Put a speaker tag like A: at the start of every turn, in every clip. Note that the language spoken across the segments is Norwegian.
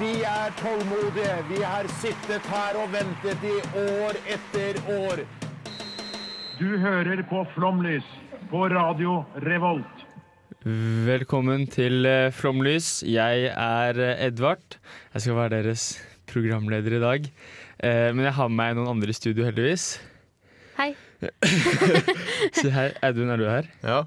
A: Vi er tålmodige. Vi har sittet her og ventet i år etter år.
B: Du hører på Flomlys på Radio Revolt.
C: Velkommen til eh, Flomlys. Jeg er eh, Edvard. Jeg skal være deres programleder i dag. Eh, Men jeg har med meg noen andre i studio, heldigvis.
D: Hei.
C: Si hei. Audun, er du her?
E: Ja.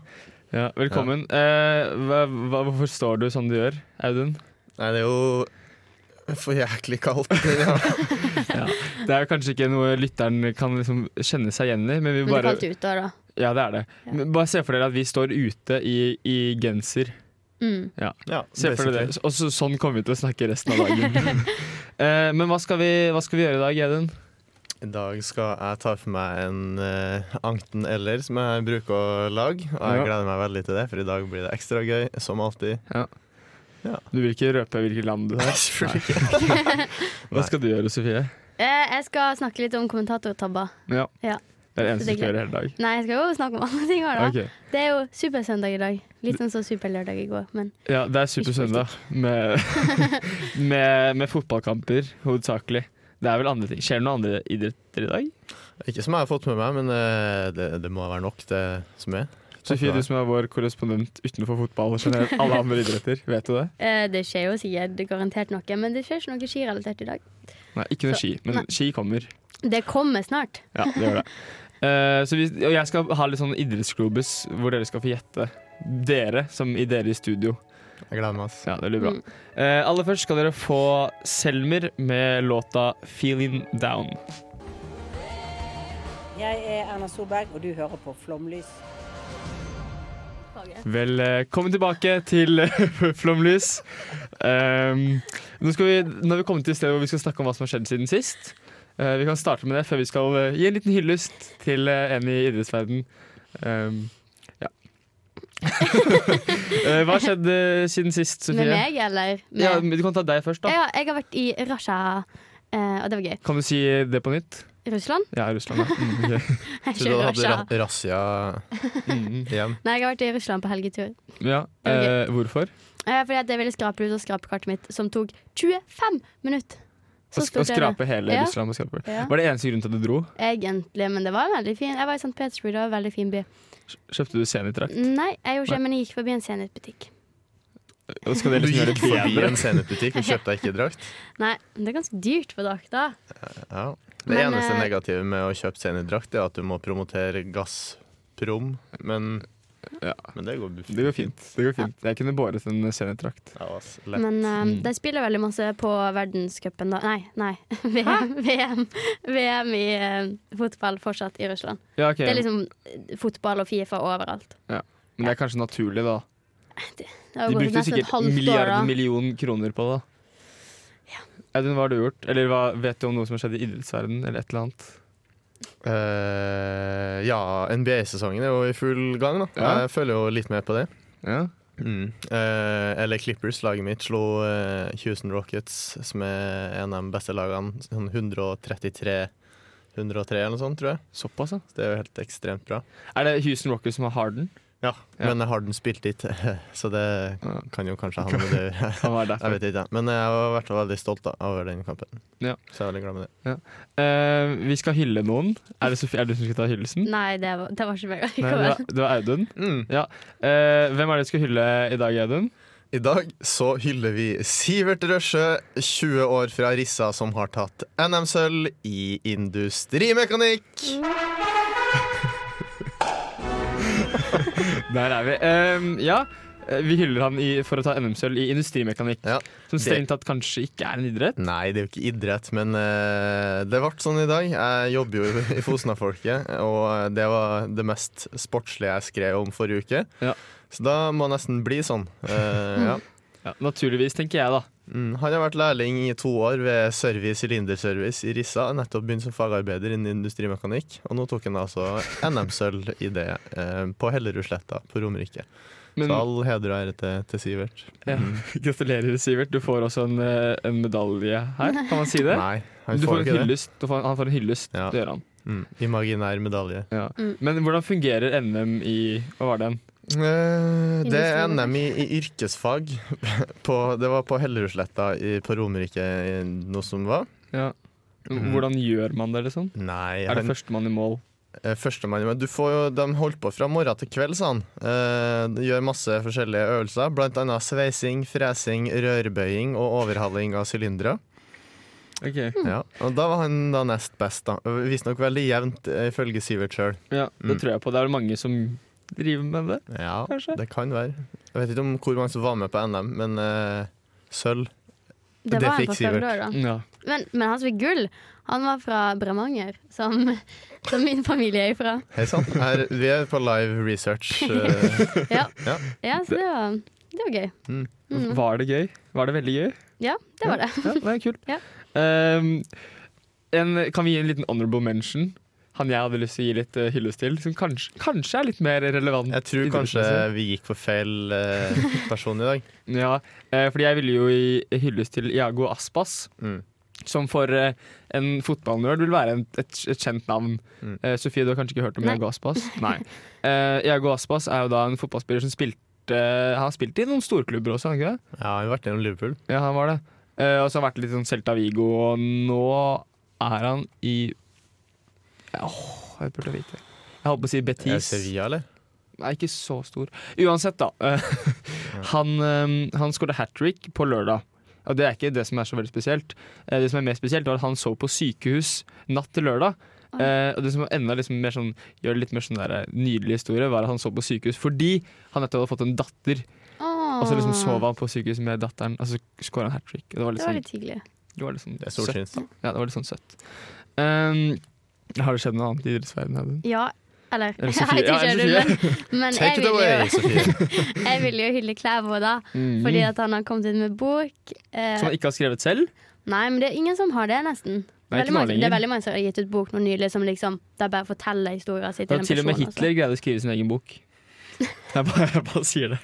C: Ja, velkommen. Eh, Hva, hva, hvorfor står du som du gjør, Audun?
E: Nei, det er jo for jæklig kaldt. Ja.
C: Det er jo kanskje ikke noe lytteren kan liksom kjenne seg igjen i, men vi
D: Men du
C: bare
D: falt ut der, da.
C: Ja, det er det.
D: Ja.
C: Men bare se for dere at vi står ute i, i genser.
D: Mm.
E: Ja,
C: Se for dere det. Og så, sånn kommer vi til å snakke resten av dagen. Eh, Men hva skal, vi, hva skal vi gjøre i dag, Audun?
E: I dag skal jeg ta for meg en eh, Anten-eller som jeg bruker å lage. Og jeg
C: Ja.
E: gleder meg veldig til det, for i dag blir det ekstra gøy, som alltid.
C: Du vil ikke røpe hvilket land du er?
E: selvfølgelig
C: Hva skal du gjøre, Sofie?
D: Eh, Jeg skal snakke litt om kommentatortabba.
C: Ja.
D: Ja.
C: Det er det eneste
D: Det
C: du skal gjøre hele dag.
D: Nei, jeg skal jo snakke om andre ting òg, da.
C: Ok.
D: Det er jo supersøndag i dag. Litt sånn som superlørdag i går, men
C: Ja, det er Supersøndag med, med, med fotballkamper hovedsakelig. Det er vel andre ting. Skjer det noen andre idretter i dag?
E: Ikke som jeg har fått med meg, men eh, det, det må være nok, det som er.
C: Sofie, du som er vår korrespondent utenfor fotball og generelt alle andre idretter, vet du det?
D: eh, det skjer jo sikkert det er garantert noe. Men det skjer ikke noe skirelatert i dag.
C: Nei, ikke noe
D: Så-
C: ski, men
D: nei.
C: ski kommer.
D: Det kommer snart.
C: Ja, det gjør det. Eh, så vi, og jeg skal ha litt sånn idrettsglobus hvor dere skal få gjette. Dere, som i dere i studio.
E: Jeg gleder meg. ass.
C: Ja, det blir bra.
D: Mm.
C: Eh, aller først skal dere få Selmer med låta 'Feeling Down'.
F: Jeg er Erna Solberg, og du hører på Flomlys.
C: Velkommen eh, tilbake til Flomlys. Ehm, nå, skal vi, nå har vi kommet til et sted hvor vi skal snakke om hva som har skjedd siden sist. Eh, vi kan starte med det før vi skal eh, gi en liten hyllest til eh, en i idrettsverden. Ehm, ja. Eh, hva har skjedd eh, siden sist, Sofie?
D: Med meg, eller? Med...
C: Ja, men du kan ta deg først, da.
D: Ja, jeg har vært i Russia, eh, og det var gøy.
C: Kan du si det på nytt?
D: Russland?
C: Ja, Russland. Ja. Mm, ok.
D: Jeg er ikke
E: Så du
D: i
E: hadde
D: Russia.
E: ra razzia
C: mm,
E: igjen?
D: Nei, jeg har vært i Russland på helgetur.
C: ja. eh, hvorfor?
D: Eh, fordi at jeg ville skrape ut av skrapekartet mitt, som tok 25 minutter.
C: Å, sk å
D: jeg det.
C: skrape hele
D: Ja.
C: Russland? Og skrape.
D: Ja.
C: Var det eneste grunn til at du dro?
D: Egentlig, men det var en veldig fin. Jeg var i St. Petersburg, det var en veldig fin by.
C: Kjøpte du Zenit-drakt?
D: Nei, jeg gjorde ikke det, men jeg gikk forbi en Zenit-butikk.
C: Og Skal dere
E: Du
C: liksom gjøre
E: gikk
C: det
E: forbi
C: bedre?
E: en senetbutikk og kjøpte deg ikke drakt?
D: Nei, men det er ganske dyrt på drakta.
E: Ja. Det
D: Men,
E: eneste
D: eh,
E: negative med å kjøpe senidrakt er at du må promotere gassprom, men,
C: Ja.
E: men det går
C: Det går fint. Det går fint. Jeg kunne båret en Zenit-drakt.
E: Ja, ass, lett.
D: Men eh,
C: Mm.
D: de spiller veldig masse på verdenscupen, da. Nei, nei. VM, VM, VM i eh, fotball fortsatt i Russland.
C: Ja, ok.
D: Det er liksom eh, fotball og Fifa overalt.
C: Men det er kanskje naturlig, da.
D: Det har
C: De
D: jo gått
C: brukte
D: nesten et
C: sikkert
D: halvt år,
C: milliarden
D: da.
C: million kroner på det. da. Audun, hva har du gjort? Eller hva, vet du om noe som har skjedd i idrettsverdenen? Eller et eller annet?
E: Eh, ja, NBA-sesongen er jo i full gang, da.
C: Ja.
E: Jeg følger jo litt med på det.
C: Ja.
E: Mm. Eh, LA Clippers, laget mitt, slo eh, Houston Rockets, som er en av de beste lagene, sånn 133 103 eller noe sånt, tror jeg.
C: Såpass, ja.
E: Så det er jo helt ekstremt bra.
C: Er det Houston Rockers som har Harden?
E: Ja, Men Harden spilte ikke, så det
C: Ja.
E: kan jo kanskje ha noe med det å gjøre.
C: Han var
E: Jeg
C: derfor.
E: vet ikke, men jeg har vært veldig stolt da, over den kampen.
C: Ja.
E: Så jeg er veldig glad med det.
C: Eh, vi skal hylle noen. Er det Sofie er det du som skal ta hyllelsen?
D: Nei, det var, det var ikke meg.
C: Nei, det var, det var Audun.
E: Mm.
C: Eh, hvem er det du skal hylle i dag, Audun?
E: I dag så hyller vi Sivert Røsjø, 20 år fra Rissa, som har tatt NM-sølv i industrimekanikk.
C: Der er vi. Ehm, ja, eh, vi hyller han i, for å ta NM-sølv i industrimekanikk.
E: Ja,
C: som
E: det-
C: strengt tatt kanskje ikke er en idrett.
E: Nei, det er jo ikke idrett, men eh, det ble sånn i dag. Jeg jobber jo i Fosna-folket, og det var det mest sportslige jeg skrev om forrige uke.
C: Ja.
E: Så da må det nesten bli sånn. Eh, ja.
C: Ja, naturligvis, tenker jeg, da.
E: Mm, han har vært lærling i to år ved Service Sylinderservice i Rissa. Nettopp begynt som fagarbeider innen industrimekanikk. Og nå tok han altså NM-sølv i det eh, på Hellerudsletta på Romerike.
C: Men
E: Så all heder og ære til, til Sivert.
C: ja, gratulerer, Sivert. Du får også en, eh, en medalje her. Kan man si det?
E: Nei, han
C: Du får
E: får
C: en
E: ikke det.
C: hyllest. Du får, han får en hyllest.
E: Ja.
C: Det gjør han.
E: Mm, imaginær medalje.
C: Ja. Men hvordan fungerer NM i Hva var det? en?
E: Eh, Det er
D: Industrimekanikk.
E: NM i, i yrkesfag. På, det var på Hellerudsletta i- på Romerike i- noe som var.
C: Ja.
E: Mhm.
C: Hvordan gjør man det, liksom?
E: Nei,
C: Er det
E: han-
C: førstemann i mål?
E: Eh, Førstemann men Du får jo, de holdt på fra morgen til kveld, sa han. Eh, de gjør masse forskjellige øvelser, blant annet sveising, fresing, rørbøying og overhaling av sylindere.
C: Ok.
E: Ja. Og da var han da nest best, da. Visstnok veldig jevnt, eh, ifølge Sivert sjøl.
C: Ja,
E: Mm.
C: det tror jeg på. Det er mange som driver med det.
E: Ja,
C: Kanskje.
E: det kan være. Jeg vet ikke om hvor mange som var med på NM, men eh, sølv.
D: Det,
E: Det
D: var han
E: fikk
D: på
E: Sivert.
D: Føldør, da.
C: Ja.
D: Men, men han som fikk gull, han var fra Bremanger, som, som min familie er ifra.
E: Hei sann. Her- Vi er på live research. eh,
D: Ja,
E: Ja.
D: ja så det var, det var gøy.
C: Var det gøy? Var det veldig gøy?
D: Ja, det var det.
C: Ja, det er kult.
D: Ja.
C: Ehm, en, kan vi gi en liten honorable mention? Han jeg hadde lyst til å gi litt eh, hyllest til, som kanskje, kanskje er litt mer relevant.
E: Jeg tror kanskje vi gikk for feil eh, person i dag.
C: Ja, eh, fordi jeg ville jo gi hyllest til Iago Aspas,
E: Mm.
C: som for eh, en fotballnerd vil være en, et, et kjent navn.
E: Mm.
C: Eh, Sofie, du har kanskje ikke hørt om
D: Nei.
C: Iago Aspas? Nei. Eh, Iago Aspas er jo da en fotballspiller som spilte Han har spilt i noen storklubber også, har han ikke det?
E: Ja, vi har vært gjennom Liverpool.
C: Ja, han var det. Eh, og så har han vært litt sånn Celta Vigo, og nå er han i Åh, jeg burde vite. Jeg holdt på å si
E: Er det
C: Betis.
E: Sevilla, eller?
C: Nei, ikke så stor. Uansett, da. eh, han eh, han skåret hat trick på lørdag. Og det er ikke det som er så veldig spesielt. Eh, det som er mer spesielt, var at han sov på sykehus natt til lørdag.
D: Ah.
C: Eh, og det som enda liksom mer sånn, gjør det litt mer sånn der, nydelig historie, var at han sov på sykehus fordi han nettopp hadde fått en datter. Og så liksom
D: Åh,
C: sov han på sykehus med datteren, og så skåra han hat trick. Det var litt
D: Ah. Det var
C: sånn,
D: litt hyggelig.
C: det var litt sånn
E: Det er
C: søtt.
E: stortrinns.
C: Ja, det var litt sånn søtt. Ehm, har det skjedd noe annet i idrettsverdenen? Audun?
D: Ja, eller
C: Eller
D: Jeg
C: Sofie.
D: vet
C: Ja,
D: ikke,
C: eller
D: men, men jeg,
E: Take it
D: vil
E: away,
D: jo,
E: Sofie.
D: jeg vil jo hylle Klæbo, da.
C: Mm.
D: Fordi at han har kommet ut med bok.
C: Som
D: Eh,
C: han ikke har skrevet selv?
D: nei, men det er ingen som har det, nesten.
C: Nei,
D: veldig
C: ikke nå
D: mange, det er
C: lenger.
D: veldig mange som har gitt ut bok nå nylig som liksom, der bare forteller historien sin
C: Da,
D: til en person.
C: til og med Hitler
D: altså.
C: greide å skrive sin egen bok. Jeg bare, jeg bare sier det.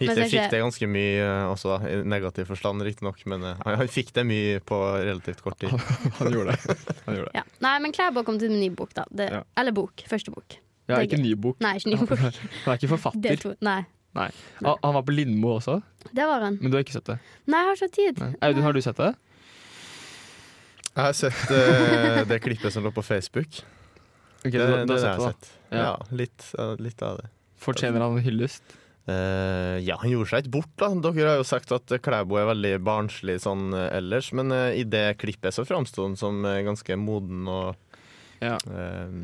E: Hitler
D: Men så er
E: fikk
D: ikke-
E: det ganske mye eh, også, da, i negativ forstand, riktignok, men eh, han han fikk det mye på relativt kort tid.
C: Han gjorde det. Han gjorde det.
D: altså. Ja. Nei, men Klæbo har kommet ut med ny bok, da. Det,
C: Ja.
D: Eller bok. Første bok.
C: Ja,
D: Det er
C: ikke ny bok.
D: Nei, ikke ny bok.
C: Han er ikke
D: Del
C: forfatter.
D: to. Nei,
C: Nei. Han han var på Lindmo også,
D: det var han.
C: men du har ikke sett det.
D: Nei, jeg har ikke hatt tid.
C: Nei. Audun, har du sett det?
E: Jeg har sett eh, det klippet som lå på Facebook.
C: Ok, du,
E: Det, det,
C: du har
E: har jeg
C: sett det.
E: sett.
C: da.
E: Ja,
C: Ja.
E: litt, eh, litt av det.
C: Fortjener han en hyllest?
E: Eh, ja, han gjorde seg ikke bort, da. Dere har jo sagt at eh, Klæbo er veldig barnslig sånn eh, ellers, men eh, i det klippet så framsto han som eh, ganske moden og
C: Ja.
E: eh,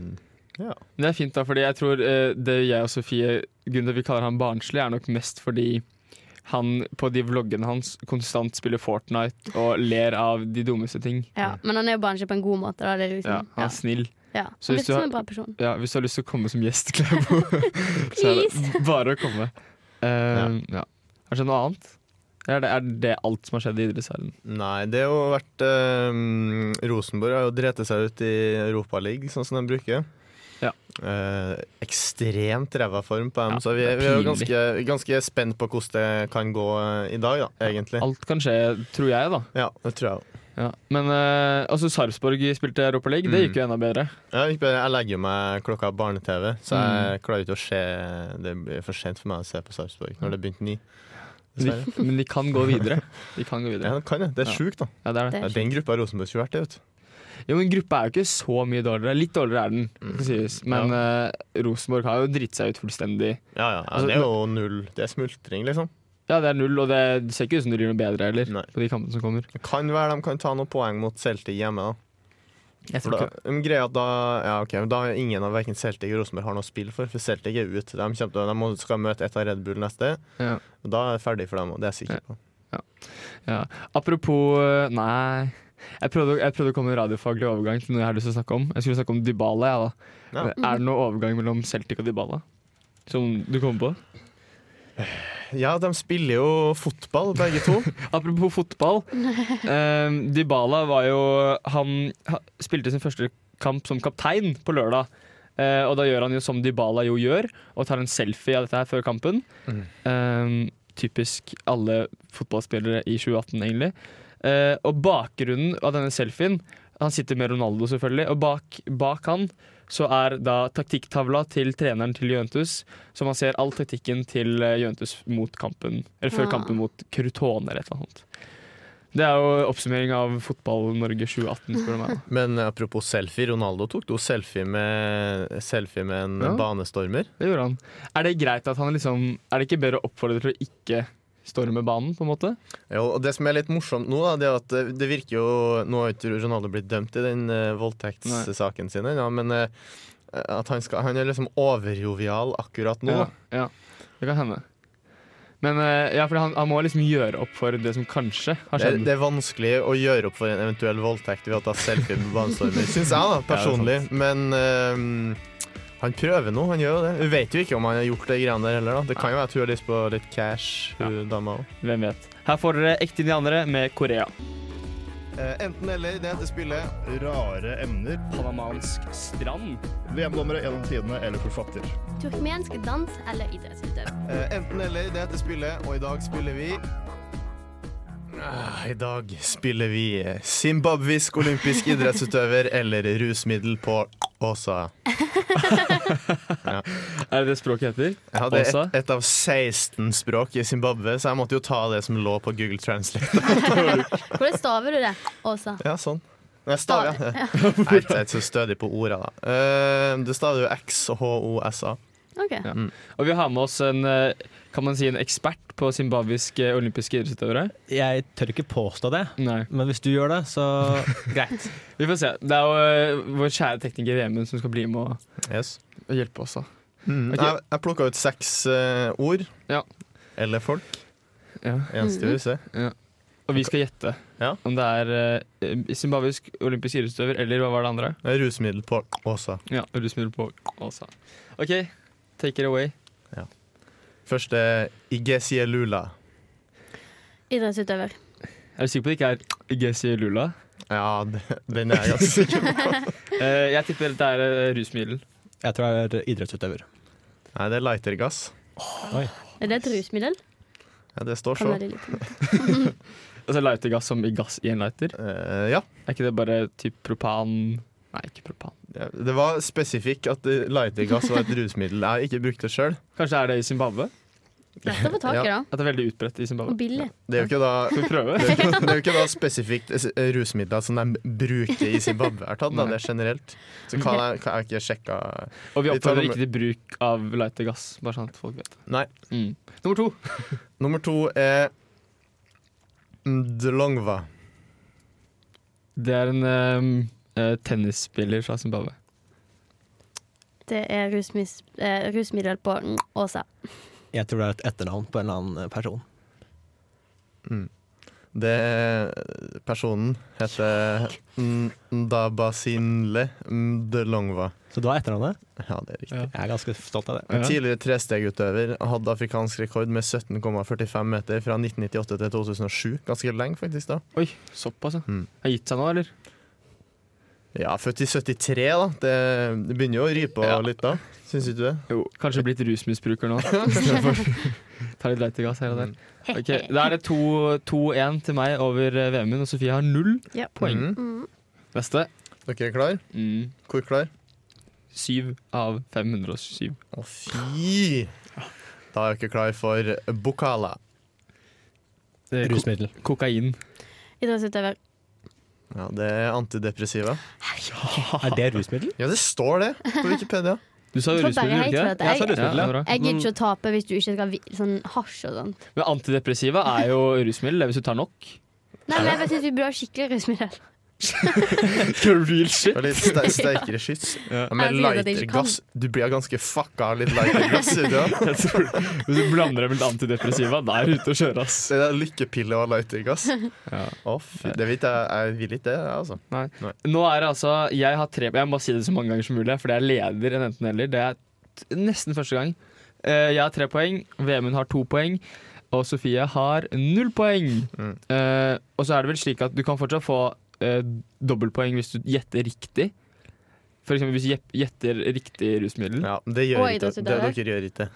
E: ja.
C: Men det er fint, da, fordi jeg tror eh, det jeg og Sofie Grunnen til at vi kaller han barnslig, er nok mest fordi han på de vloggene hans konstant spiller Fortnite og ler av de dummeste ting.
D: Ja, men han er jo barnslig på en god måte. Da. Det er
C: Ja,
D: liksom,
C: han
D: ja.
C: er snill.
D: Ja.
C: Så
D: Han
C: hvis
D: virker
C: du har-
D: som en bra person.
C: Ja, hvis du har lyst til å komme som gjest, Klæbo, så er det bare å komme. Eh, ja. Har det skjedd noe annet? Er det, er det alt som har skjedd i idrettsverdenen?
E: Nei, det har jo vært eh, Rosenborg har jo dretet seg ut i Europaligaen, sånn som de bruker.
C: Ja.
E: Eh, ekstremt ræva form på dem,
C: Ja,
E: så vi,
C: det er
E: vi er jo
C: pinlig.
E: ganske, ganske spent på hvordan det kan gå eh, i dag, da, egentlig.
C: Alt kan skje, tror jeg, da.
E: Ja, det tror jeg òg.
C: Ja. Men eh, altså, Sarpsborg spilte Europa League, det gikk jo enda bedre.
E: Jeg, jeg legger jo meg klokka er barne-TV, så
C: Mm.
E: jeg klarer ikke å se Det blir for sent for meg å se på Sarpsborg når det begynte ni.
C: De,
E: Dessverre.
C: men de kan gå videre. De kan gå
E: Ja,
C: videre.
E: det kan jeg. Det er
C: Ja.
E: sjukt, da.
C: Ja, det er det.
D: Det
E: Ja,
D: er
E: den gruppa Rosenborg skulle vært det, vet du.
C: Jo, men gruppa er jo ikke så mye dårligere. Litt dårligere er den, det skal sies. Men eh, Rosenborg har jo dritt seg ut fullstendig.
E: Ja, ja. ja
C: Altså,
E: det er jo null. Det er smultring, liksom.
C: Ja, det er null, og det ser ikke ut som det blir noe bedre heller
E: Nei.
C: på de kampene som kommer.
E: Det kan være de kan ta noen poeng mot Celtic hjemme, da.
C: Jeg
E: For da, men greia er at da, ja, ok, men da er ingen av hverken Celtic eller Rosenborg har noe spill for, for Celtic er ute. De, kommer til, å- de må, skal møte et av Red Bull neste.
C: Ja.
E: Og Da er det ferdig for dem, og det er jeg sikker på.
C: Ja. Apropos eh, Nei. Jeg prøvde, jeg prøvde å komme med en radiofaglig overgang til noe jeg har lyst til å snakke om. Jeg skulle snakke om Dybala. Ja, da.
E: Ja.
C: Er det noen overgang mellom Celtic og Dybala som du kommer på?
E: Ja, de spiller jo fotball, begge to.
C: Apropos fotball. Eh, Dybala var jo Han ha- spilte sin første kamp som kaptein på lørdag. Eh, og da gjør han jo som Dybala jo gjør, og tar en selfie av dette her før kampen. Eh, typisk alle fotballspillere i 2018, egentlig. Eh, og bakgrunnen av denne selfien Han sitter med Ronaldo, selvfølgelig. Og bak, bak han så er da taktikktavla til treneren til Juventus, så man ser all taktikken til eh, Juventus mot kampen, eller før
D: Ah.
C: kampen mot Crotone eller et eller annet. Det er jo oppsummering av Fotball-Norge 2018, spør du meg.
E: Men apropos selfie, Ronaldo tok jo selfie med, selfie med en
C: Ja.
E: banestormer.
C: Det gjorde han. Er det greit at han liksom Er det ikke bedre å oppfordre til å ikke storme banen, på en måte?
E: Jo, og Det som er litt morsomt nå, da, det er at eh, det virker jo Nå har ikke Ronaldo blitt dømt i den eh, voldtektssaken sin ennå, men eh, at han, skal, han er liksom overjovial akkurat nå.
C: Ja, ja. Det kan hende. Men eh, ja, for han, han må liksom gjøre opp for det som kanskje har
E: Det er,
C: skjedd.
E: det er vanskelig å gjøre opp for en eventuell voldtekt ved å ta selfie med banestormer, syns jeg, da, personlig. Men eh, han prøver nå, han gjør jo det. Vi vet jo ikke om han har gjort det greiene der heller, da. Det kan jo være at hun har lyst på litt cash, hun dama òg.
C: Hvem vet. Her får dere ekte indianere med Korea.
E: Eh,
G: Enten eller, det heter spillet. Rare emner.
C: Panamansk strand.
G: VM-dommere gjennom tidene eller forfatter.
D: Turkmensk dans eller idrettsutøvelse?
E: Eh, Enten eller, det heter spillet, og i dag spiller vi Ah, I dag spiller vi zimbabwisk olympisk idrettsutøver eller rusmiddel på Åsa.
C: Er det det språket heter?
E: Jeg hadde
C: Åsa?
E: et, et av 16 språk i Zimbabwe, så jeg måtte jo ta det som lå på Google Translate.
D: Hvordan staver du det, Åsa?
E: Ja, sånn. Nei, stav, ja. Nei, Jeg er ikke så stødig på orda, da. Eh, Det staver jo XHOSA.
D: Ok.
C: Og vi har med oss en, eh, kan man si, en ekspert på zimbabwiske olympiske idrettsutøvere.
H: Jeg tør ikke påstå det,
C: Nei.
H: men hvis du gjør det, så greit.
C: Vi får se. Det er jo eh, vår kjære tekniker Vemund som skal bli med og,
E: Yes.
C: og hjelpe oss. da.
E: Mm.
C: Ok.
E: Jeg, jeg plukka ut seks eh, ord.
C: Ja.
E: Eller folk.
C: Ja.
E: Eneste
D: Mhm.
E: vi ser.
C: Og vi skal gjette
E: Ja.
C: om det er eh, zimbabwisk olympisk idrettsutøver eller hva var det andre?
E: Det er Rusmiddel på Åsa.
C: Ja, Rusmiddel på Åsa. OK, take it away.
E: Først er Igesie Lula.
D: Idrettsutøver.
C: Er du sikker på det ikke er Gesi Lula?
E: Ja, d- den er jeg altså. ganske sikker på.
C: Eh, jeg tipper det er eh, rusmiddel.
H: Jeg tror jeg er idrettsutøver.
E: Nei, det er lightergass.
D: Er det et rusmiddel?
E: Ja, det står
D: Kan
E: så.
D: være litt
C: Altså lightergass som i gass i en lighter.
E: Eh, ja.
C: Er ikke det bare typ propan Nei, ikke propan.
E: Ja, Det var spesifikk at eh, lightergass var et rusmiddel. Jeg har ikke brukt det sjøl.
C: Kanskje det er det i Zimbabwe?
D: lett å få tak i, da.
C: At det er veldig utbredt i
D: Og
C: Zimbabwe.
D: billig.
E: Det er jo ikke da
C: Skal vi prøve?
E: det er jo ikke- det er jo ikke da spesifikt eh, rusmidler som de bruker i Zimbabwe. Er tatt, da, det er generelt. Så kan jeg, kan jeg ikke sjekka
C: Og vi
E: Vi tar
C: oppfordrer
E: nummer-
C: ikke til bruk av lightergass, bare sånn at folk vet.
E: Nei.
C: Mm. Nummer to.
E: Nummer to er Ndlongva.
C: Det er en ehm, eh, tennisspiller fra Zimbabwe.
D: Det er rusmis, eh, rusmiddel på Åsa.
H: Jeg tror det er et etternavn på en eller annen person.
E: Det er personen heter N- Ndabasinle Ndlongva.
H: Så du har etternavnet?
E: Ja, det er riktig.
C: Ja.
H: Jeg er ganske stolt av det.
E: En tidligere trestegutøver hadde afrikansk rekord med 17,45 meter fra 1998 til 2007. Ganske lenge, faktisk. da
C: Oi, såpass, ja.
E: Mm.
C: Har gitt seg nå, eller?
E: Ja, født i 73, da. Det, det begynner jo å rype
C: Ja.
E: litt da. Syns ikke du det?
C: Jo. Kanskje blitt rusmisbruker nå. Ta litt lightergass her og der.
D: Mm.
C: Ok, Da er det 2-1 til meg over eh, Vemund, og Sofie har null
D: Ja.
C: poeng.
E: Mm.
D: Mm.
C: Neste.
E: Dere er klar?
C: Mm.
E: Hvor klar?
C: Syv av 507.
E: Å, fy! Da er dere klar for Bokala.
C: Eh, ko-
H: Rusmiddel.
C: Kokain.
D: Idrettsutøver.
E: Ja, Det er antidepressiva.
H: Er det rusmiddel?
E: Ja, det står det på Wikipedia.
C: Du sa
D: Jeg
C: jo
D: tror bare
C: rusmiddel,
D: jeg
C: ikke
D: tror
C: det?
D: at jeg-
H: Jeg sa rusmiddel,
C: Ja,
H: ja.
C: det er bra.
D: Jeg gidder ikke å tape hvis du ikke skal vi- sånn hasj og sånn.
C: Men antidepressiva er jo rusmiddel, det hvis du tar nok.
D: Nei, men jeg bare synes vi burde ha skikkelig rusmiddel.
C: Real shit.
E: Og litt ste sterkere skyts.
C: Ja.
E: Ja, men
D: Jeg sier at jeg ikke kan.
E: lightergass Du blir ganske fucka av litt lightergass. vet du hva?
C: Jeg tror, hvis du blander det med litt antidepressiva, da er du ute å kjøre, ass.
E: Så det er lykkepille og lightergass.
C: Ja.
E: Å, fy, det vet jeg, jeg vil ikke det, jeg, altså.
C: Nå er det altså Jeg har tre Jeg må si det så mange ganger som mulig, for jeg leder en enten-eller. Det er t- nesten første gang. Eh, jeg har tre poeng, Vemund har to poeng, og Sofie har null poeng. Eh, og så er det vel slik at du kan fortsatt få eh, dobbeltpoeng hvis du gjetter riktig. For eksempel hvis du gjep- gjetter riktig rusmiddel.
E: Ja, det gjør
D: Og
E: ikke det.
D: idrettsutøvere.
E: Dere gjør ikke det.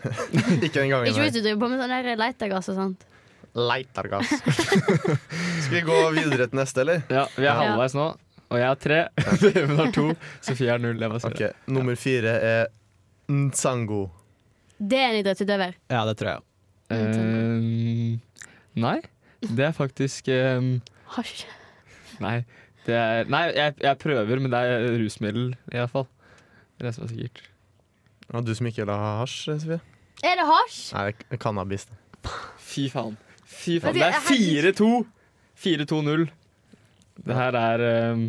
E: ikke den gangen.
D: Ikke
E: her.
D: hvis du driver på med sånn der leitegass og sånt.
E: Leitergass. Skal vi gå videre til neste, eller?
C: Ja, vi er
D: Ja.
C: halvveis nå, og jeg har tre. Vemund har to, Sofie har null. Jeg bare sier
E: Ok,
C: det.
E: Nummer fire er Nsango.
D: Det er en idrettsutøver.
H: Ja, det tror jeg.
C: Eh, nei, det er faktisk eh,
D: Hasj.
C: Nei, det er, nei jeg, jeg prøver, men det er rusmiddel i hvert fall. Det er det som er sikkert.
E: Og du som ikke vil ha hasj, Sofie?
D: Er det hasj?
E: Nei, det er cannabis. da.
C: Fy faen. Fy faen.
D: Men
C: Det
D: det
C: er
D: er
C: 4-2. 4-2-0. Det her er um,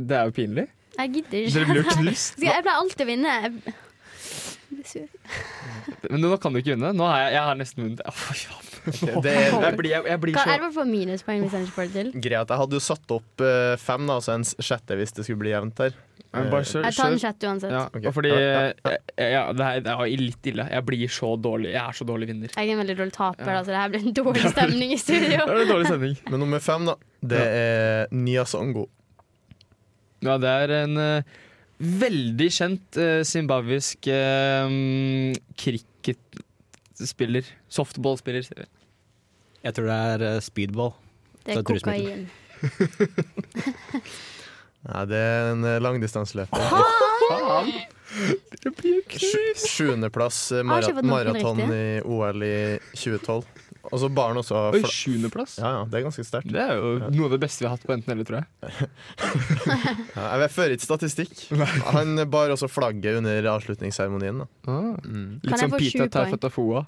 C: Det er jo pinlig.
D: Jeg gidder
C: Dere
D: ikke.
C: blir jo knust.
D: Skal Jeg jeg pleier alltid å vinne. Jeg blir sur.
C: Men nå kan du ikke vinne. Nå har jeg, jeg har nesten vunnet. Å, fy faen.
E: Ok, det er
C: Jeg blir, jeg, jeg blir
D: Hva er
C: så
D: det for minuspoeng hvis jeg ikke får det til?
E: greit. Jeg hadde jo satt opp eh, fem, da, altså en s- sjette hvis det skulle bli jevnt der.
C: Men bare kjør-
D: Jeg tar
C: kjør.
D: den sjette uansett.
C: Ja,
E: Ok.
C: og fordi eh,
E: Ja,
C: ja,
E: ja,
C: det, er, det er litt ille. Jeg blir så dårlig. Jeg er så dårlig vinner.
D: Jeg er en veldig dårlig taper, da, så det her blir en dårlig stemning i
C: Det
D: studio.
C: er en dårlig sending.
E: Men nummer fem, da, det er Nyasongo.
C: Ja, det er en eh, veldig kjent eh, zimbabwisk eh, mm, cricketspiller. Softballspiller, sier vi.
H: Jeg tror det er eh, speedball.
D: Det er
H: Ta et rusmiddel.
D: kokain.
E: Nei, det er en eh, langdistanseløper.
C: Faen! Dere blir jo
E: Sju- Sjuendeplass eh, mara
D: ikke fått noen
E: maraton i
D: riktig.
E: OL i 2012. Og så barn også.
C: Oi,
E: fla-
C: sjuendeplass?
E: Ja, ja, det er ganske sterkt.
C: Det er jo noe av det beste vi har hatt på enten eller, tror jeg.
E: Ja, jeg vet- fører ikke statistikk. Han bar også flagget under avslutningsseremonien. da.
D: Kan jeg
C: Ah. Litt som
D: få
C: Pita
D: sju poeng?
C: Taufatafoa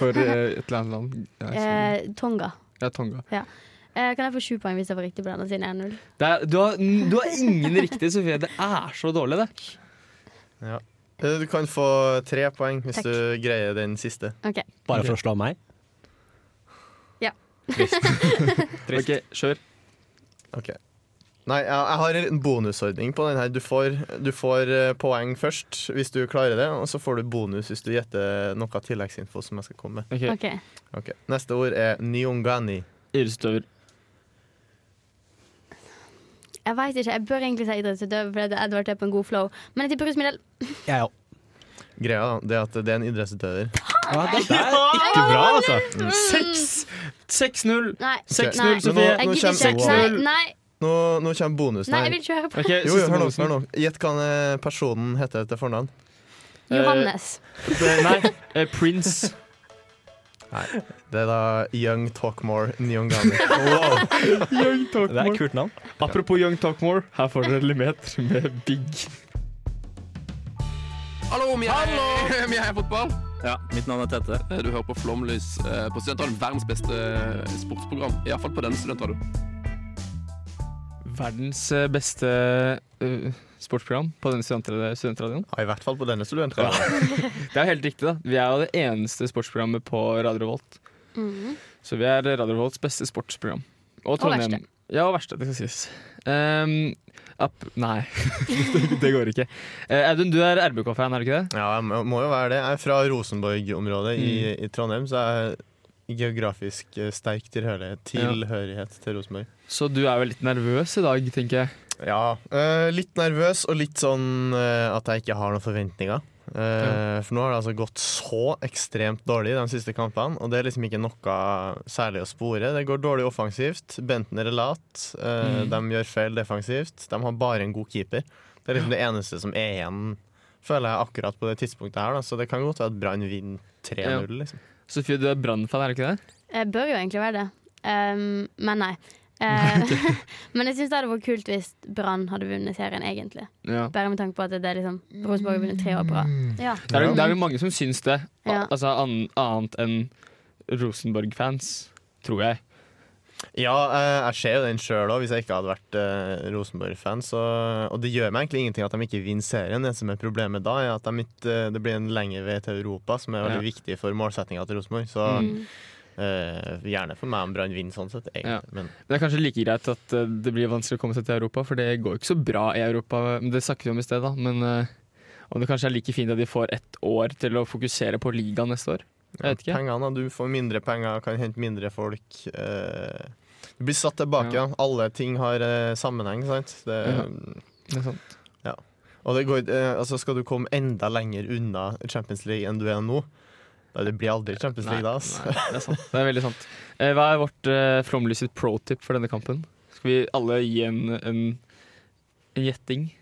C: for eh, et eller annet land. Ja, jeg
D: Eh, Tonga.
C: sier- Ja, Tonga.
D: Eh, kan jeg få sju poeng hvis jeg får riktig på denne, siden jeg er null?
C: Det er, du, har, du har ingen riktig, Sofie. Det er så dårlig, det.
E: Eh, Du kan få tre poeng hvis
D: Takk.
E: du greier den siste.
D: Ok.
H: Bare for å slå meg.
C: Ok, kjør.
E: Ok Nei, jeg, jeg har en bonusordning på den her. Du får, du får eh, poeng først hvis du klarer det, og så får du bonus hvis du gjetter noe tilleggsinfo som jeg skal komme med.
C: Ok,
D: ok.
E: Ok, Neste ord er nyongani.
C: Idrettsutøver.
D: Jeg vet ikke, jeg bør egentlig si idrettsutøver, for det er Edvard er på en god flow. Men jeg tipper rusmiddel.
H: Jeg òg.
E: Greia da, det er at det er en idrettsutøver.
H: Ja, dette er ikke bra, altså.
C: 6 6-0.
D: Nei.
C: 6-0,
D: nei.
C: Sofie.
D: Jeg
E: Nå
D: gidder
E: kommer
D: ikke. Nei, nei,
E: Nå, nå kommer bonusen
D: nei, jeg
E: her.
D: vil ikke høre på.
C: Ok, siste
E: Jo, jo, hør nå,
C: bonusen.
E: hør nå. Gjett hva eh, personen heter til fornavn.
C: Eh,
D: Johannes.
C: det- Nei, eh, Prince.
E: Det er da Young Talkmore Nyongani.
C: Young
H: Det er et kult navn.
C: Apropos Young Talkmore, her får dere Limeter med Big.
I: Hallo, vi er, vi er fotball. Mitt navn er Tette. Du hører på Flomlys eh, på Studentradioen. Verdens beste eh, sportsprogram. Iallfall på denne studentradioen.
C: Verdens eh, beste eh, sportsprogram på denne studentra- studentradioen.
E: Ja, I hvert fall på denne studentradioen.
C: Det er jo helt riktig, da. Vi er jo det eneste sportsprogrammet på Radio Revolt. Så vi er Radio Revolts beste sportsprogram. Og Trondheim.
D: verste.
C: Ja, og verste. Det skal sies. Ehm, app, nei, det, det går ikke. Eh, Audun, du er RBK-fan, er du ikke det?
E: Ja, jeg må- må jo være det. Jeg er fra Rosenborg-området i, i Trondheim, så jeg er geografisk eh, sterk tilhørighet, tilhørighet til Rosenborg.
C: Så du er vel litt nervøs i dag, tenker jeg.
E: Ja, eh, litt nervøs og litt sånn eh, at jeg ikke har noen forventninger. Eh, For nå har det altså gått så ekstremt dårlig de siste kampene, og det er liksom ikke noe særlig å spore. Det går dårlig offensivt. Benten er lat. eh, De gjør feil defensivt. De har bare en god keeper. Det er liksom det eneste som er igjen, føler jeg, akkurat på det tidspunktet her. Da. Så det kan godt være at Brann vinner 3-0, liksom.
C: Sofie, du er Brann-fan, er du ikke det?
D: Jeg bør jo egentlig være det, Ehm, men nei. Eh, men jeg syns det hadde vært kult hvis Brann hadde vunnet serien, egentlig.
C: Ja.
D: Bare med tanke på at det er liksom Rosenborg har vunnet tre år på rad. Ja.
C: Det er jo- det er jo mange som syns det. Al-
D: Ja.
C: Altså an, annet enn Rosenborg-fans, tror jeg.
E: Ja, eh, jeg ser jo den sjøl òg, hvis jeg ikke hadde vært eh, Rosenborg-fan. så- Og det gjør meg egentlig ingenting at de ikke vinner serien. Det som er problemet da, er at de ikke, eh, det blir en lengre vei til Europa, som er veldig viktig for målsettinga til Rosenborg. Så
C: Mm.
D: Mm.
E: eh, gjerne for meg om Brann vinner sånn sett, egentlig.
C: Ja.
E: Men
C: Det er kanskje like greit at eh, det blir vanskelig å komme seg til Europa, for det går jo ikke så bra i Europa. Men Det snakket vi om i sted, da. Men eh, Om det kanskje er like fint at de får ett år til å fokusere på ligaen neste år. Jeg vet ikke.
E: Pengene, du får mindre penger, kan hente mindre folk. eh, Du blir satt tilbake.
C: Ja.
E: da. Alle ting har eh, sammenheng, sant? Det,
C: Det er sant.
E: Og det går, eh, altså skal du komme enda lenger unna Champions League enn du er nå, da det blir aldri Champions League da. ass.
C: Nei, det er sant. Det er veldig sant. Eh, Hva er vårt eh, Flåmlys sitt pro tip for denne kampen? Skal vi alle gi en, en, en gjetting?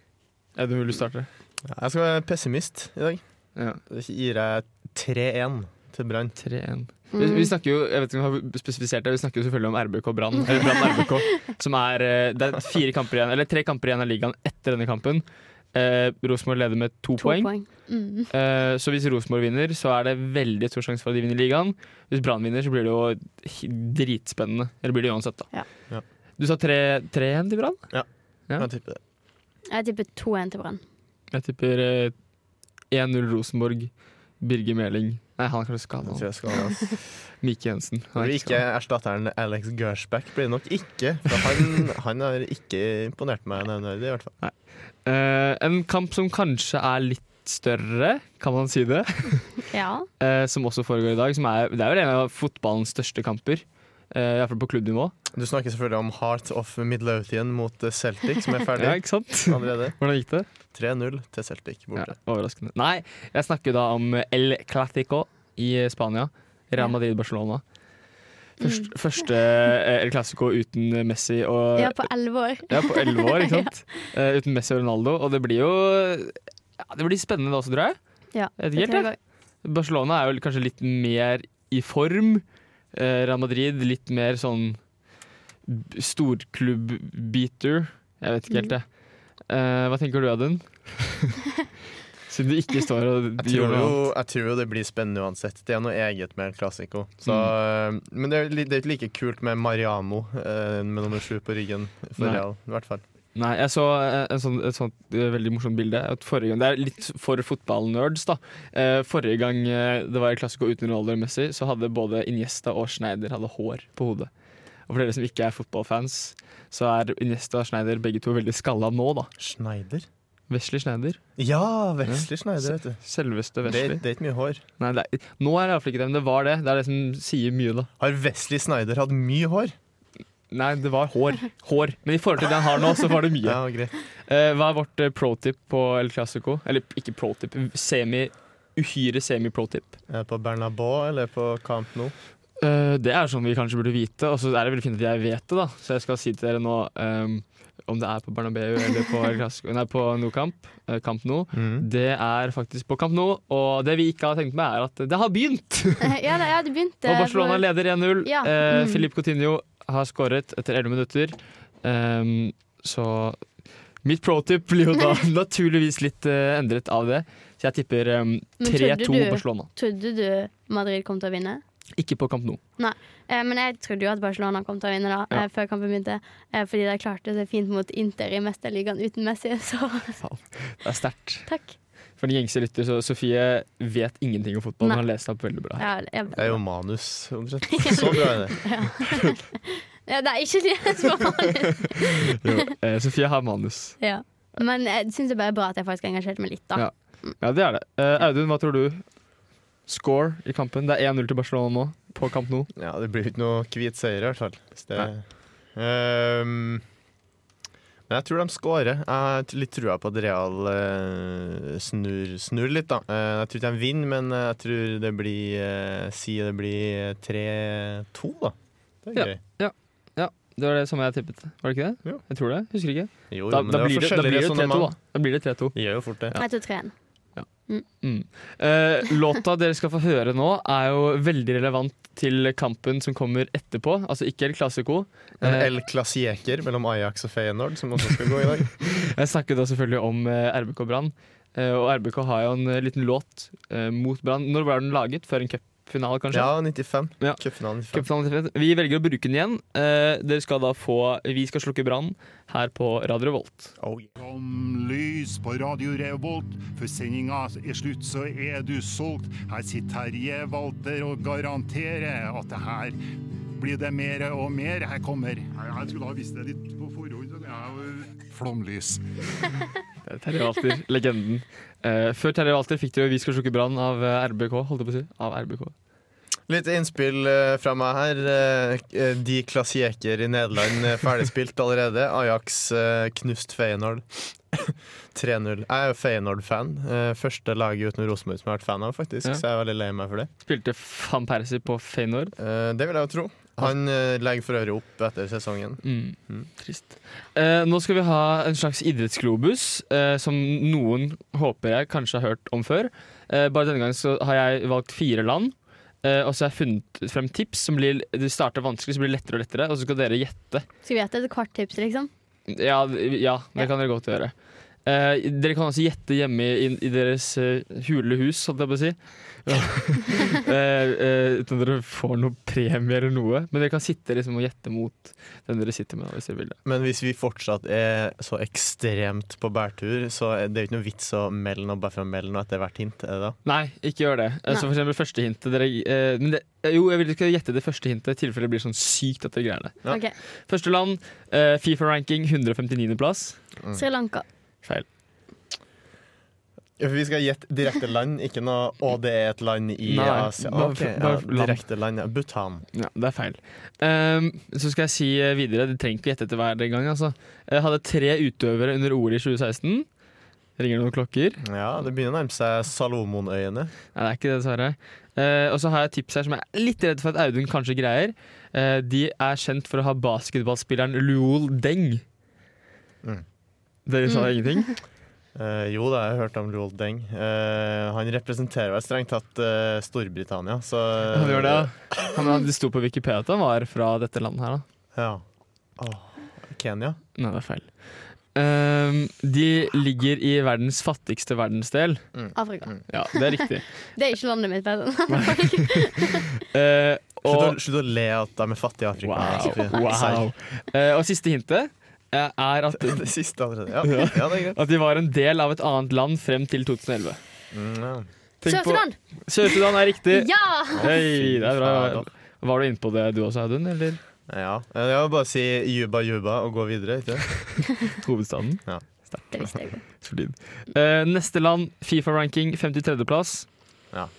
C: Er det mulig å starte?
E: Jeg skal være pessimist i dag.
C: Ja.
E: Jeg gir deg 3-1 til Brann.
C: 3-1. Vi, vi snakker jo jeg vet ikke om jeg har spesifisert det, vi snakker jo selvfølgelig om RBK Brann. Eller Brann RBK, som er eh, Det er fire kamper igjen, eller tre kamper igjen av ligaen etter denne kampen. Eh, Rosenborg leder med to,
D: To
C: poeng.
D: poeng. Mm.
C: Eh, så hvis Rosenborg vinner, så er det veldig stor sjanse for at de vinner ligaen. Hvis Brann vinner, så blir det jo hi- dritspennende. Eller blir det uansett, da.
D: Ja.
E: Ja.
C: Du sa 3-1 til Brann? Ja.
E: Jeg tipper det.
D: Jeg tipper 2-1 til Brann.
C: Jeg tipper eh, 1-0 Rosenborg. Birger Meling Nei, han er kanskje
E: Jeg
C: skada.
E: tror jeg skal ha det.
C: Mike Jensen. Han
E: Når
C: er
E: du
C: ikke
E: ikke erstatter han Alex Gersbach, blir det nok ikke. For han, han har ikke imponert meg nevneverdig, i hvert fall.
C: Eh, en kamp som kanskje er litt større, kan man si det,
D: Ja.
C: eh, som også foregår i dag. Som er, det er vel en av fotballens største kamper, eh, i hvert fall på klubbnivå.
E: Du snakker selvfølgelig om Heart of Midlothian mot eh, Celtic, som er
C: Ja,
E: ferdig
C: ikke sant?
E: allerede.
C: Hvordan gikk det?
E: 3-0 til Celtic
C: Ja,
E: borte.
C: overraskende. Nei, jeg snakker da om El Clásico i Spania. Real Madrid-Barcelona. Først, Første eh, El Clásico uten Messi og
D: Mm. Ja, på 11 år.
C: Ja, på elleve år, ikke sant? Eh, uten Messi og Ronaldo. Og det blir jo ja, Det blir spennende da også, tror jeg.
D: Ja,
C: Jeg vet
D: det
C: ikke helt,
D: tror jeg
C: jeg. Barcelona er vel kanskje litt mer i form. Eh, Real Madrid litt mer sånn b- storklubb-beater. Jeg vet ikke helt, jeg. Eh, hva tenker du, Audun? Siden du ikke står og
E: Jeg
C: gjør
E: tror,
C: noe
E: jo,
C: annet.
E: jeg tror jo det blir spennende uansett. Det er noe eget med El Clasico. Så,
C: Mm.
E: eh, Men det er li- det er ikke like kult med Mariamo eh, med nummer sju på ryggen for
C: Nei.
E: Real, i hvert fall.
C: Nei, jeg så eh, en sånn, et sånt eh, veldig morsomt bilde. At forrige gang, det er litt for fotballnerds, da. Eh, forrige gang eh, det var klassiker uten Ronaldo og Messi, så hadde både Iniesta og Schneider hadde hår på hodet. Og for dere som ikke er fotballfans, så er Iniesta og Schneider begge to veldig skalla nå, da.
E: Schneider?
C: Wesley Schneider.
E: Ja, Wesley Schneider, vet du.
C: Selveste
E: Det,
C: Wesley.
E: det er ikke mye hår.
C: Nei, det er, nå er det iallfall ikke det, men det var det. Det er det som sier mye, da.
E: Har Wesley Snyder hatt mye hår?
C: Nei, det var hår. Hår. Men i forhold til det han har nå, så var det mye.
E: greit.
C: Eh, hva er vårt eh, pro-tip på El Clasico? Eller ikke pro-tip, semi, uhyre semi-pro-tip.
E: Er det på Bernabeu eller på Camp Nou?
C: Eh, det er sånn vi kanskje burde vite, og så er det veldig fint at jeg vet det, da. Så jeg skal si til dere nå ehm, om det er på Bernabeu eller på El Clasico Nei, på Nou Camp. eh, Camp Nou. Det er faktisk på Camp Nou, og det vi ikke har tenkt med, er at det har begynt!
D: Ja, det, ja, det begynte
C: og Barcelona
D: for-
C: leder 1-0.
D: eh, Ja,
C: Eh,
D: mm.
C: Filip Coutinho har skåret etter 11 minutter. Ehm, så mitt pro-tip blir jo da naturligvis litt eh, endret av det. Så jeg tipper ehm,
D: Men trodde
C: 3-2
D: du-
C: Barcelona.
D: Trodde du Madrid kom til å vinne?
C: Ikke på Camp Nou.
D: Eh, men jeg trodde jo at Barcelona kom til å vinne da,
C: Ja.
D: eh, før kampen begynte. Eh, fordi de klarte seg fint mot Inter i mesterligaen uten Messi, så
C: Det er sterkt.
D: takk.
C: For den gjengse lytter, så Sofie vet ingenting om fotball.
D: Nei.
C: Hun har lest opp veldig bra. her.
D: Ja, jeg,
E: Det er jo manus, omtrent. Så bra er det.
D: ja, det er ikke det som var vanlig.
C: Eh, Sofie har manus.
D: Ja. Men jeg syns det bare er bra at jeg faktisk engasjerte meg litt, da.
C: Ja. Ja, det er det. Eh, Audun, hva tror du? Score i kampen. Det er 1-0 til Barcelona nå, på Camp Nou.
E: Ja, det blir jo ikke noe hvit seier, i hvert fall. Hvis det, Ehm, men jeg tror de skårer. Jeg har litt trua på at Real eh, snur, snur litt, da. Eh, jeg tror ikke de vinner, men jeg tror det blir eh, Si det blir 3-2, da. Det er
C: Ja.
E: gøy.
C: Det var det samme jeg tippet. Var det ikke det?
E: Jo.
C: Jeg tror det. Husker ikke.
E: Jo,
C: Da,
E: jo, men
C: da,
E: det var
C: blir det, da
E: forskjellige
C: blir det 3-2, da.
E: resonnement.
C: da blir det 3-2.
E: Det gjør jo fort det.
D: Jeg tror 3-1.
C: Eh, låta dere skal få høre nå, er jo veldig relevant til kampen som kommer etterpå. Altså ikke El Clasico.
E: En
C: Eh,
E: El Clasieker mellom Ajax og Feyenoord, som også skal gå i dag.
C: jeg snakker da selvfølgelig om eh, RBK Brann. Eh, og RBK har jo en eh, liten låt eh, mot Brann. Når ble den laget? Før en cupfinale, kanskje?
E: Ja, 95.
C: Ja.
E: Cupfinalen 95.
C: Cupfinalen til Fred. Vi velger å bruke den igjen. Eh, dere skal da få Vi skal slukke brann her på Radio Revolt.
J: Som lys på Radio Revolt, for sendinga er slutt, så er du solgt. Her sitter Terje Walter og garanterer at det her blir det mere og mer. Her kommer Jeg skulle ha visst det litt på forhånd. Flomlys.
E: Det
C: Terje Walter, legenden. Eh, før Terje Walter fikk de jo 'Vi skal slukke brann' av eh, RBK, holdt jeg på å si. Av RBK.
E: Litt innspill eh, fra meg her. Eh, De klassieker i Nederland eh, ferdigspilt allerede. Ajax eh, knust Feyenoord 3-0. Jeg er jo Feyenoord-fan. Eh, Første laget uten Rosenborg som jeg har vært fan av, faktisk.
C: Ja.
E: Så jeg er veldig lei meg for det. Eh,
C: Spilte van Persie på Feyenoord?
E: Det vil jeg jo tro. Han eh, legger for øvrig opp etter sesongen.
C: Mm. Trist. Eh, nå skal vi ha en slags idrettsglobus, eh, som noen håper jeg kanskje har hørt om før. Eh, bare denne gangen så har jeg valgt fire land, eh, og så har jeg funnet frem tips som blir, de starter vanskelig, så blir det lettere og lettere, og så skal dere gjette.
D: Skal vi gjette et kvart tips, liksom?
C: Ja, ja det kan dere godt gjøre. Eh, dere kan også gjette hjemme i, i deres eh, hule hus, holdt jeg på å si. Eh, eh, uten at dere får noe premie eller noe. Men dere kan sitte liksom, og gjette mot den dere sitter med. hvis dere vil det.
E: Men hvis vi fortsatt er så ekstremt på bærtur, så er det jo ikke noe vits å melde noe bare for å melde noe etter hvert hint. Er det da?
C: Nei, ikke gjør det. Eh, Så for eksempel første hintet dere, eh, men det, eh, Jo, jeg vil ikke gjette det første hintet, i tilfelle det blir sånn sykt at dere greier det.
D: Ja. Ok.
C: Første land, eh, Fifa-ranking 159.-plass.
D: Sri Lanka.
C: Feil.
E: Ja, for Vi skal gjette direkte land, ikke noe Å, det er et land i
C: Nei,
E: Asia.
C: bare-
E: Ok, ja,
C: bare land.
E: direkte land, ja. Bhutan.
C: Ja, det er feil. Ehm, så skal jeg si eh, videre, du trenger ikke gjette etter hver gang. Altså. Jeg hadde tre utøvere under OL i 2016. Ringer det noen klokker?
E: Ja, det begynner å nærme seg Salomonøyene.
C: Nei, det er ikke det, dessverre. Eh, og så har jeg et tips her som jeg er litt redd for at Audun kanskje greier. Eh, de er kjent for å ha basketballspilleren Luol Deng. Dere sa
E: Mm.
C: ingenting?
E: Eh, jo da, jeg har hørt om Luol Deng. Eh, han representerer vel strengt tatt eh, Storbritannia, så
C: Han gjør det, ja. Han, han, det sto på Wikipedia at han var fra dette landet her,
E: da. Ja. Åh, Kenya?
C: Nei, det er feil. Ehm, de ligger i verdens fattigste verdensdel.
D: Afrika.
C: Ja, det er riktig.
D: det er ikke landet mitt. vet du.
C: Eh,
E: Slutt, å, slutt å le at de er fattige i Afrika. Sofie.
C: Wow. wow. Eh, og siste hintet eh, er at
E: Det siste allerede, ja. Ja, det er greit.
C: At de var en del av et annet land frem til 2011.
E: Mm,
C: Tenk på-
D: Sør-Sudan!
C: Sør-Sudan er riktig!
D: Ja!
C: Hei, det er bra. Var du inne på det du også, Audun? Eller?
E: Ja. Eh, Jeg vil bare si juba juba og gå videre, ikke
C: Hovedstaden.
E: Ja.
D: Det visste jeg jo.
C: Solid. Eh, neste land, Fifa-ranking 53.-plass.
E: Ja.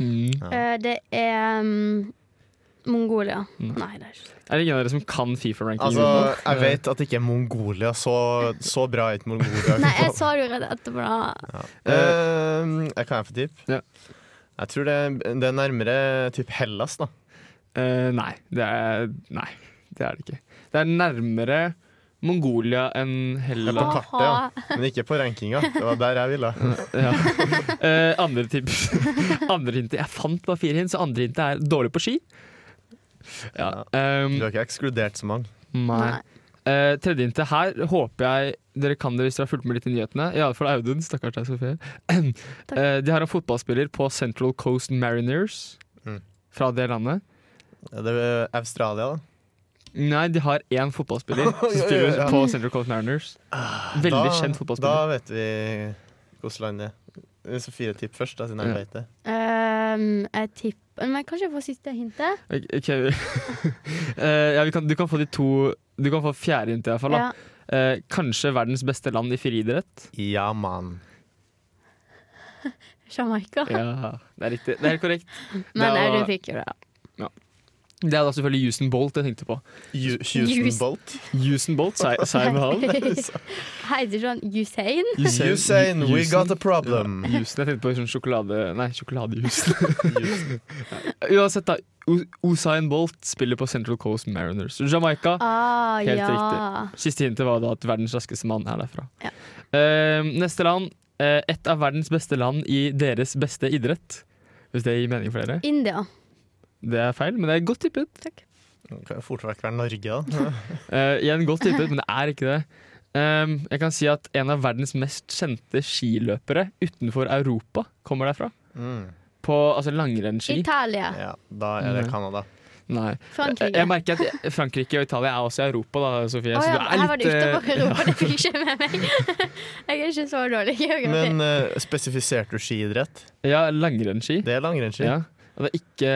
C: Mm.
D: Eh, det er mm, Mongolia. Nei, det er ikke
C: Er det ingen av dere som kan Fifa-ranking?
E: Altså, jeg vet at det ikke er Mongolia. Så, så bra er ikke Mongolia.
D: Nei, jeg sa det jo rett etterpå. da.
E: Eh, jeg kan jeg få tipp?
C: Ja.
E: Jeg tror det, det er nærmere typ Hellas, da.
C: Eh, nei, det er, nei, det er det ikke. Det er nærmere Mongolia enn
E: Det er
C: Hellas.
E: på kartet, ja. Men ikke på rankinga. Det var der jeg ville.
C: Ja. Eh, andre tips. Andre hintet. Jeg fant bare fire hint, så andre hintet er dårlig på ski. Ja. ehm,
E: Du har ikke ekskludert så mange.
C: Nei. Eh, tredje hintet her håper jeg dere kan det hvis dere har fulgt med litt i nyhetene. Iallfall Audun. Stakkars deg, Sofie. Eh, de har en fotballspiller på Central Coast Mariners
E: Mm.
C: fra det landet.
E: Det er Australia, da.
C: Nei, de har én fotballspiller som
E: Ja, ja,
C: spiller
E: ja. Ah,
C: på Central Coast Mariners. Veldig
E: da,
C: kjent
E: Da
C: fotballspiller.
E: vet vi hvilket land det er. Sofie, tipp først, da, siden jeg
C: Ja.
E: vet det.
D: Ehm, jeg tipper Men kanskje jeg får siste hintet?
C: Ok, ok. Eh, ja, vi kan, du kan få de to Du kan få fjerde hint, iallfall.
D: Ja.
C: Uh, kanskje verdens beste land i friidrett.
E: Ja, mann.
D: Jamaica.
C: Ja, det er riktig. Det er helt korrekt.
D: Men
C: det
D: Audun
C: var-
D: fikk jo det.
C: Det er da selvfølgelig Houston Bolt jeg tenkte på.
D: Houston
E: Bolt?
C: Houston Bolt, sa sa jeg med han.
D: Heter ikke han sånn Usain?
E: Usain, we got a problem.
C: Ja, Houston, jeg tenkte på sånn sjokolade... Nei, sjokoladehouston. Uansett, da. U- Usain Bolt spiller på Central Coast Mariners. Jamaica.
D: Ah,
C: Helt
D: ja.
C: riktig. Siste hintet var da at verdens raskeste mann er derfra. Eh, neste land. eh, et av verdens beste land i deres beste idrett. Hvis det gir mening for dere.
D: India.
C: Det er feil, men det er godt tippet.
E: Det kan jo fort vekk være Norge, da.
C: Eh, igjen godt tippet, men det er ikke det. Ehm, jeg kan si at en av verdens mest kjente skiløpere utenfor Europa kommer derfra.
E: Mm.
C: På altså, langrennsski.
D: Italia.
E: Ja, da er det
C: Nei.
E: Canada.
C: Nei.
D: Frankrike.
C: Jeg, jeg merker at Frankrike og Italia er også i Europa, da, Sofie.
D: Å
C: så
D: ja,
C: du er
D: her var det
C: litt, eh,
D: utenfor Europa, det fikk jeg ikke med meg. Jeg er ikke så dårlig i geografi.
E: Men eh, spesifiserte du skiidrett?
C: eh, Ja, langrennsski.
E: Det er langrennsski.
C: Ja. Og det er ikke,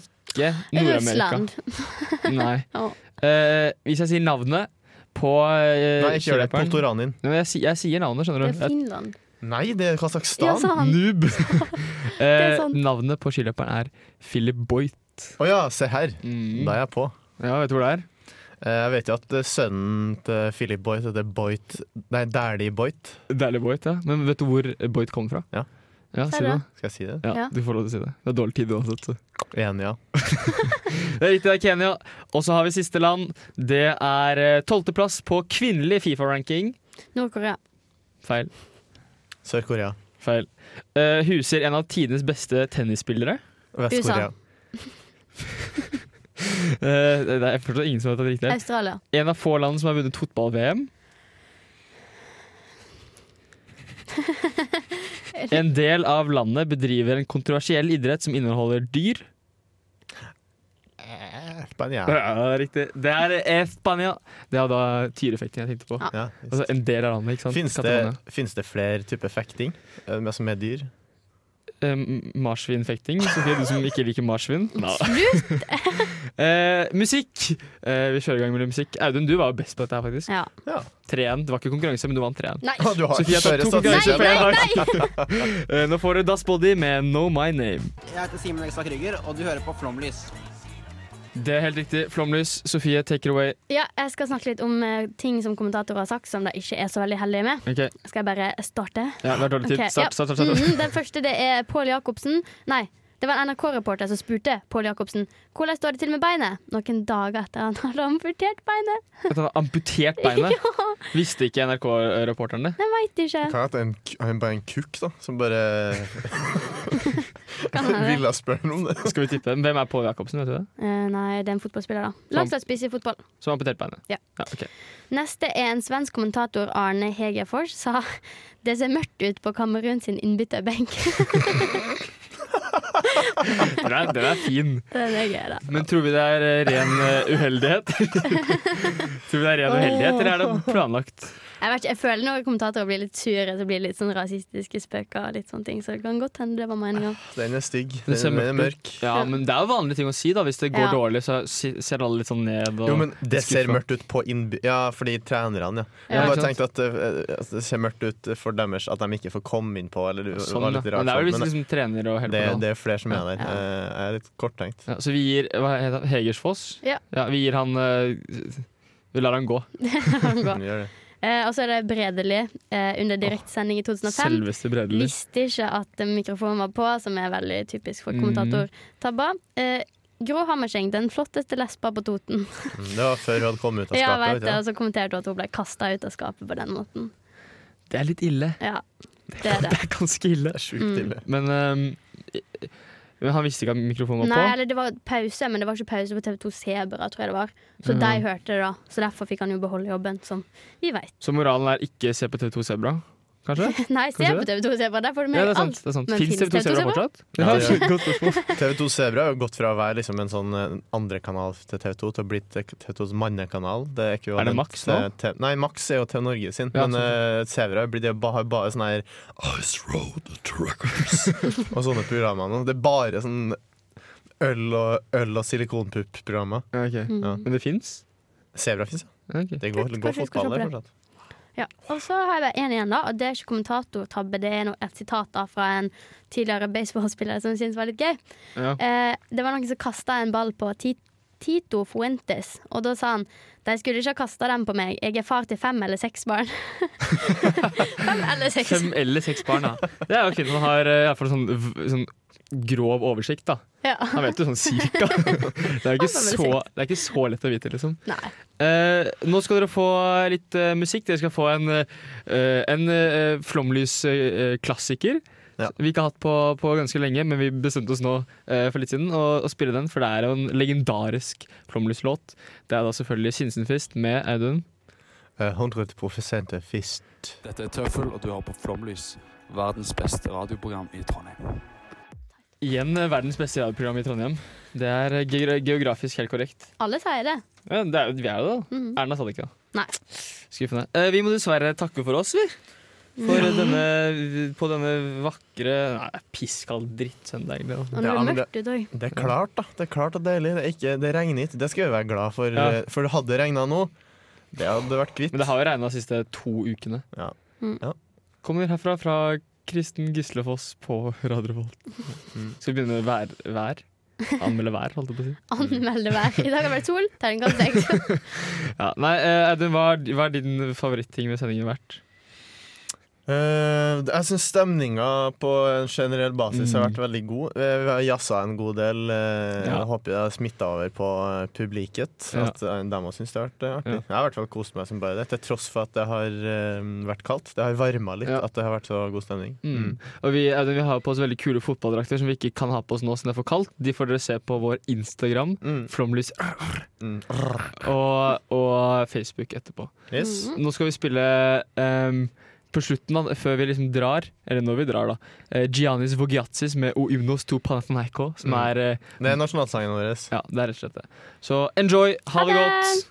C: ikke Nord-Amerika.
D: Russland.
C: Nei.
D: Å.
C: Eh, hvis jeg sier navnet på eh,
E: Nei, ikke gjør det.
C: skiløperen.
E: Poltoranin.
C: Nei, men jeg, si- jeg sier navnet, skjønner du.
D: Det er Finland.
E: Nei, det er Kasakhstan.
D: Ja, sa han.
C: Noob.
D: er
C: Eh,
D: sant.
C: navnet på skiløperen er Philip Boyt.
E: Å ja, se her. Da er jeg på.
C: Ja, vet du hvor det er?
E: Jeg vet jo at eh, sønnen til Philip Boyt heter Boyt Nei, Dæhlie Boyt.
C: Dæhlie Boyt, ja. Men vet du hvor Boyt kom fra?
E: Ja.
C: Ja,
D: Sa
C: si
D: du
C: det.
D: det?
E: Skal jeg si det?
C: Ja,
D: Ja.
C: Du får lov til å si det. Det er dårlig tid uansett. så.
E: Enig, ja.
C: Det er riktig, det er Kenya. Og så har vi siste land. Det er eh, tolvteplass på kvinnelig Fifa-ranking.
D: Nord-Korea.
C: Feil.
E: Sør-Korea.
C: Feil. Eh, huser en av tidenes beste tennisspillere.
E: Vest-Korea.
C: Eh, det er fortsatt ingen som vet at det er riktig.
D: Australia.
C: En av få land som har vunnet fotball-VM. En del av landet bedriver en kontroversiell idrett som inneholder dyr.
E: Eh, Spania.
C: Ja, det er riktig. Det er Espania. Det er da tyrefekting jeg tenkte på.
E: Ja.
C: Altså en del av landet, ikke sant?
E: Fins det,
C: Catalonia.
E: finnes det flere typer fekting eh, med- som er dyr?
C: Eh, m- marsvinfekting. Sofie, du som ikke liker marsvin. eh, musikk! Eh, vi kjører i gang med litt musikk. Audun, du var jo best på dette her, faktisk.
D: Ja.
E: Ja.
C: 3-1. Det var ikke konkurranse, men du vant 3-1.
D: Nei.
E: Ah, du har
C: Sofie har tatt
E: større
C: to
E: statistikk
C: konkurranser på én
E: enn meg.
C: dag. Eh, Nå får du Das Body med No My Name.
G: Jeg heter Simen Eksak Rygger, og du hører på Flomlys.
C: Det er helt riktig. Flomlys, Sofie, take it away.
D: Ja, jeg skal snakke litt om eh, ting som kommentatorer har sagt som de ikke er så veldig heldige med.
C: Ok,
D: Skal jeg bare starte?
C: ja, Det er dårlig tid.
D: Ok, ja.
C: Start, start, start. start.
D: Mhm, den første det er Pål Jacobsen. Nei, det var en NRK-reporter som spurte Pål Jacobsen hvordan står det til med beinet noen dager etter han hadde amputert beinet.
C: At han har amputert beinet. Visste ikke NRK-reporteren det?
D: Jeg veit ikke.
E: Kan jeg hete en, en, bare en kukk, da? Som bare
D: Kan hende.
E: ville spørre noe om det.
C: Skal vi tippe? Hvem er Pål Jacobsen? vet du det?
D: Eh, nei, det er en fotballspiller, da. Landslagsspiss i fotball.
C: Som har amputert beinet?
D: Ja.
C: ja ok.
D: Neste er en svensk kommentator, Arne Hegerfors, sa det ser mørkt ut på Kamerun sin innbytterbenk.
C: Den er, den er fin.
D: Den er gøy, da.
C: Men tror vi det er eh, ren eh, uheldighet? tror vi det er ren uheldighet, eller er det planlagt?
D: Jeg, vet ikke, jeg føler når kommentatorer blir litt sure, så blir det litt sånn rasistiske spøker og litt sånne ting, så det kan godt hende det var meninga.
E: Den er stygg.
C: Det
E: Den,
C: ser
E: den er
C: mørkt
E: mørk.
C: Ja, men det er jo vanlige ting å si, da. Hvis det går
D: Ja.
C: dårlig, så si- ser alle litt sånn ned. Og
E: Jo, men øh, det ser
C: skuffa.
E: mørkt ut på innby... Ja, fordi trenerne, ja.
C: Ja, ikke
E: Jeg bare tenkte at eh, altså, det ser mørkt ut for deres at de ikke får komme inn på, eller det
C: Sånn,
E: var
C: ja.
E: litt rart.
C: Men det er jo
E: sånn,
C: hvis liksom trener og
E: det,
C: helper. da.
E: det er flere som er der. Eh, Jeg er litt korttenkt.
C: Ja, så vi gir hva heter han? Hegersfoss?
D: Ja.
C: Vi gir han eh, Vi lar han gå.
D: Gå.
E: Men Mm, gjør det.
D: Eh, og så er det Bredeli eh, under direktesending i 2005.
C: Selveste Bredeli.
D: Visste ikke at eh, mikrofonen var på, som er veldig typisk for kommentator Tabba. Eh, Gro Hammerseng, den flotteste lesba på Toten.
E: Mm, Det var før hun hadde kommet ut av
D: Ja,
E: skapet.
D: vet
E: vet du
D: det,
E: det?
D: Og så kommenterte hun at hun ble kasta ut av skapet på den måten.
C: Det er litt ille.
D: Ja, det er det.
C: Det er ganske ille.
E: Det er sjukt ille.
C: Men, eh, men han visste ikke at mikrofonen var
D: Nei,
C: på.
D: eller det var pause, men det var ikke pause på TV2 Sebra, tror jeg det var. Så de hørte det, da. Så derfor fikk han jo beholde jobben, som vi veit.
C: Så moralen er ikke se på TV2 Sebra, kanskje?
D: Nei, se
C: Kanskje
D: på TV2 Sebra, der får du med
C: Ja, det er sant.
D: alt.
C: Det er sant.
D: Men
C: Fins
D: finnes
C: TV2 Sebra
D: TV2
C: fortsatt?
E: Ja, det gjør
C: Godt spørsmål.
E: TV2 Sebra har jo gått fra å være liksom en sånn eh, andrekanal til TV2 til å bli TV2s mannekanal. Det er, ekvivalent
C: Er det Max nå?
E: til- til- nei, Max er jo TV Norge sin,
C: Ja,
E: men eh, Sebra blir det ba, har bare sånn her Ice Road Truckers og sånne programmer nå. Det er bare sånn øl og, øl og silikonpupp-programmer.
C: Ja, ok.
E: Ja.
C: Men det fins?
E: Sebra fins, Mm. ja. Det går,
D: Kult,
E: går
D: kanskje vi skal
E: fotball
D: se
E: der
D: på det.
E: fortsatt.
D: Ja, og så har jeg bare en igjen da Og det er ikke kommentatortabbe, det er noe, et sitat da fra en tidligere baseballspiller Som jeg synes var litt gøy
C: Ja.
D: eh, Det var noen som kastet en ball på Ti- Tito Fuentes Og da sa han De skulle ikke ha kastet den på meg Jeg er far til fem eller seks barn Fem eller seks
C: Fem eller seks barn, da. Det er jo fint. Man har eh, i hvert fall sånn, v- sånn grov oversikt, da.
D: ja.
C: Han vet jo sånn cirka. Det er jo ikke
D: Han har vel
C: så, det er ikke så lett å vite, liksom.
D: Nei,
C: Eh, nå skal dere få litt eh, musikk. Dere skal få en, eh, en eh, Flomlys-klassiker.
E: Ja.
C: Vi ikke har hatt på, på ganske lenge, men vi bestemte oss nå eh, for litt siden å, å spille den. For det er jo en legendarisk Flomlys-låt. Det er da selvfølgelig Sinsenfist med Audun.
E: Eh, 100 professente fist.
K: Dette er Tøffel, og du hører på Flomlys, verdens beste radioprogram i Trondheim.
C: Igjen eh, verdens beste radioprogram i Trondheim. Det er eh, ge geografisk helt korrekt.
D: alle sier det
C: Ja, det er, jo- vi er jo det, da.
D: Mhm.
C: Erna sa det ikke, da.
D: Nei.
C: Skuffende. Eh, vi må dessverre takke for oss, vi. For denne, på denne vakre Nei, pisskald drittsøndagen. det da.
D: Og nå er
E: Ja,
D: det
E: men det-
D: mørkt ut også
E: Det er klart, da. Det er klart og deilig. Det, er ikke, det regner ikke. Det skal vi være glad for.
C: Ja.
E: eh, For det hadde regna nå. Det hadde vært kvitt.
C: Men det har jo regna de siste to ukene.
D: Mm.
C: Kommer herfra fra Kristen Gislefoss på Radio Volt. Skal vi begynne med vær? vær? Anmelde vær, holdt jeg på å si.
D: Anmelde vær. I dag har det vært sol. Terningkast seks.
C: Ja. Nei, eh, Audun, hva, er- hva er din favoritting med sendingen vært?
E: Eh, jeg syns stemninga på en generell basis har
C: Mm.
E: vært veldig god. Eh, Vi har jazza en god del. eh,
C: Ja.
E: Jeg håper det har smitta over på eh, publiket.
C: Ja.
E: At eh, dem òg syns det har vært eh, artig. Jeg har i hvert fall kost meg som bare det, til tross for at det har eh, vært kaldt. Det har varma litt at det har vært så god stemning.
C: Mm. Og vi, Audun, vi har på oss veldig kule fotballdrakter som vi ikke kan ha på oss nå siden det er for kaldt. De får dere se på vår Instagram, Flomlys,
E: Mm.
C: og, og Facebook etterpå.
E: Yes.
C: Nå skal vi spille ehm, på slutten, da, før vi liksom drar, eller når vi drar, da. eh, Giannis Vogiatsis med O Ymnos to Panathinaiko, som
E: Mm.
C: er eh,
E: Det er nasjonalsangen vår.
C: Ja, det er rett og slett det. Så enjoy, ha det godt!